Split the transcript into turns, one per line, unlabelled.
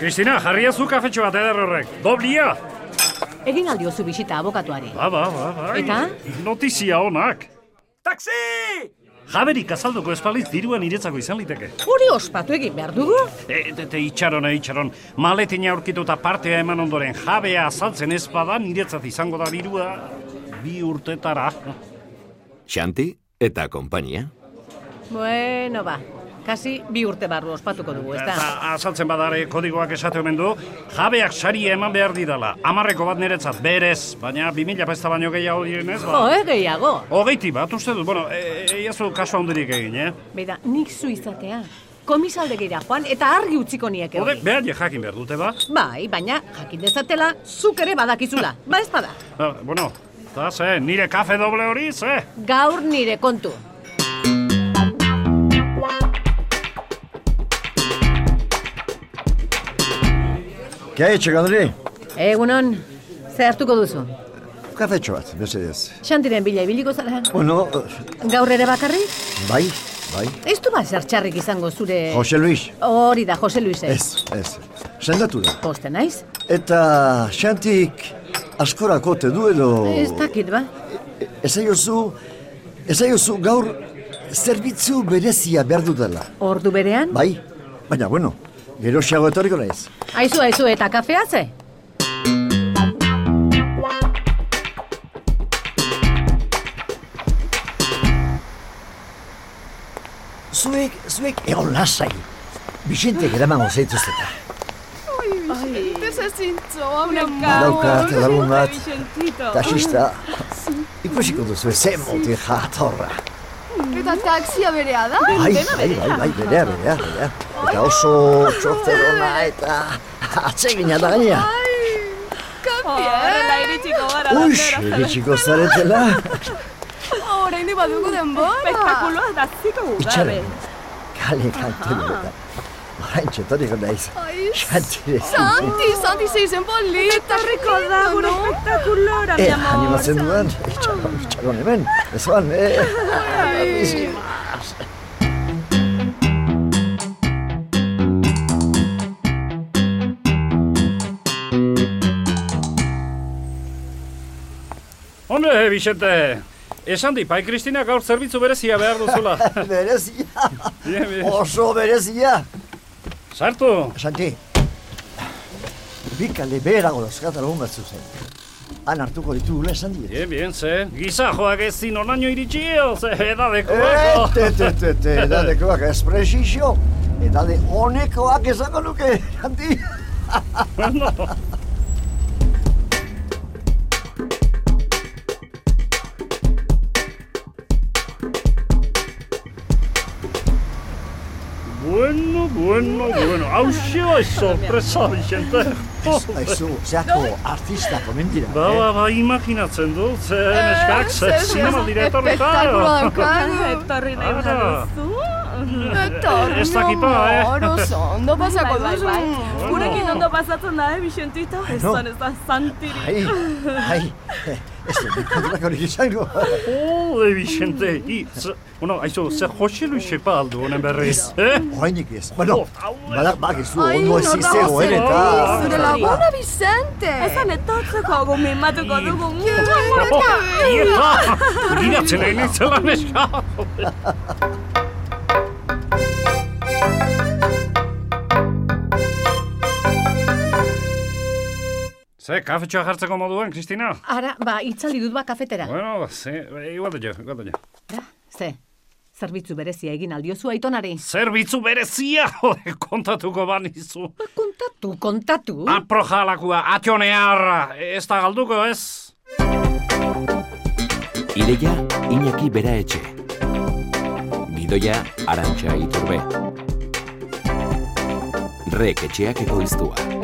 Kristina, jarria zu kafetxo bat eder horrek. Doblia!
Egin aldiozu bisita abokatuari.
Ba, ba, ba, ba.
Eta?
Notizia onak.
Taxi!
Jaberik azalduko espaliz diruan iretzako izan liteke.
Hori ospatu egin behar dugu?
E, te, te, itxaron, eh, itxaron. Maletina aurkitu eta partea eman ondoren jabea azaltzen ez bada niretzat izango da dirua bi urtetara.
Xanti eta konpainia.
Bueno, ba. Kasi bi urte barru ospatuko dugu,
Eta
ezta?
azaltzen badare kodigoak esate omen du, jabeak saria eman behar didala. Amarreko bat niretzat, berez, baina bi mila pesta baino gehiago direnez,
Jo,
ba.
eh, gehiago.
Hogeiti bat, uste dut, bueno, e, e, iazu kasu handirik egin, eh?
Beda, nik zu izatea. Komisaldegira joan eta argi utziko nieke
Hore,
hori.
behar jakin behar dute, ba?
Bai, baina jakin dezatela zuk ere badakizula. Ba ez bada.
Ah, bueno, eta ze, nire kafe doble hori, ze?
Gaur nire kontu.
¿Qué ha hecho, Gadri?
Egunon, ze hartuko duzu?
Kafetxo bat, mesedez.
Xantiren bila ibiliko zara.
Bueno,
Gaur ere bakarrik?
bai, bai.
Ez du bazar txarrik izango zure...
Jose Luis.
Hori da, Jose Luis ez.
Ez, ez. Sendatu da.
Poste naiz?
Eta xantik askorako te du edo...
Ez dakit ba.
Ez aiozu, ez aiozu gaur zerbitzu berezia behar dudala.
Ordu berean?
Bai, baina bueno, gero xago etorriko naiz.
Aizu, aizu, eta kafea ze?
Zuek, zuek egon lasai. Bixentek eramango zaituzteta.
Ese zintzoa, una
Daukat, lagun bat,
Vicentito.
taxista. Ikusiko duzu ezen mote jatorra.
Eta taxia berea da?
Bai, bai, bai, bai, berea, berea, berea. Eta oso txorterona eta atsegina da gaina.
Horrela iritsiko gara.
Uix,
bandera.
iritsiko zaretela.
Oraindik badugu denbora. Espektakuloa da ziko
Itxaron, kale
Ah.
kanten eta. Horain txetoriko naiz. Xantire zinte.
Santi, Santi, zeizen polita, riko da, gure espektakulora,
E, animatzen dudan, itxaron, itxaron hemen. Ez ban, e. bizi.
Hombre, Vicente, esan di, pai Kristina gaur zerbitzu berezia behar duzula.
Berezia,
Bien, bien.
oso berezia.
Sartu,
Santi, bi kale beherago dauzkat lagun bat zuzen. Han hartuko ditugula esan diet.
bien, bien, ze. Gizajoak ez zin onaino iritsi, o, ze, ba? edadekoako.
Ete, Eh, te, te, te, edadekoak ez presizio, edade honekoak ezango nuke, Santi.
Bueno, bueno, bueno. Hauxe bai sorpresa, Vicente. Jo,
Ez, Aizu, zeako artista komen dira.
Ba,
eh?
ba, ba, imaginatzen du, ze neskak, ze zinemaldia etorri eta.
Espektakuloa daukagu. Etorri nahi
Ara.
baduzu. Etorri,
Ez dakipa, eh.
amor, oso ondo pasako
bai,
duzu.
Gurekin ondo pasatzen da, eh, Vicentito? Ez
Bueno.
zan, ez da, santiri.
Ai, ai, eh, ez dut kontrako nik izango.
Ode, Vicente, i, ze, bueno, aizu, ze Jose Luisepa aldu honen berriz, eh?
Horainik ez. Bueno, badak bakizu
Ai,
ondo ez
nor dago
izegoen
zer
eta...
hori,
Zure laguna, Vicente.
Ezan etortzeko gomimatuko dugu.
Oh, Ieta, giratzen egin nintzela neska. Ze, kafetxoa jartzeko moduan, Kristina?
Ara, ba, itzali dut ba kafetera.
Bueno, ze, igual da jo, igual da jo.
Da, ze, zerbitzu berezia egin aldiozu aitonari.
Zerbitzu berezia, jode, kontatuko banizu.
Ba, kontatu, kontatu.
Apro jalakua, ationearra, ez da galduko, ez?
Ideia Iñaki Bera Etxe. Gidoia Arantxa Iturbe. Rek etxeak ekoiztua.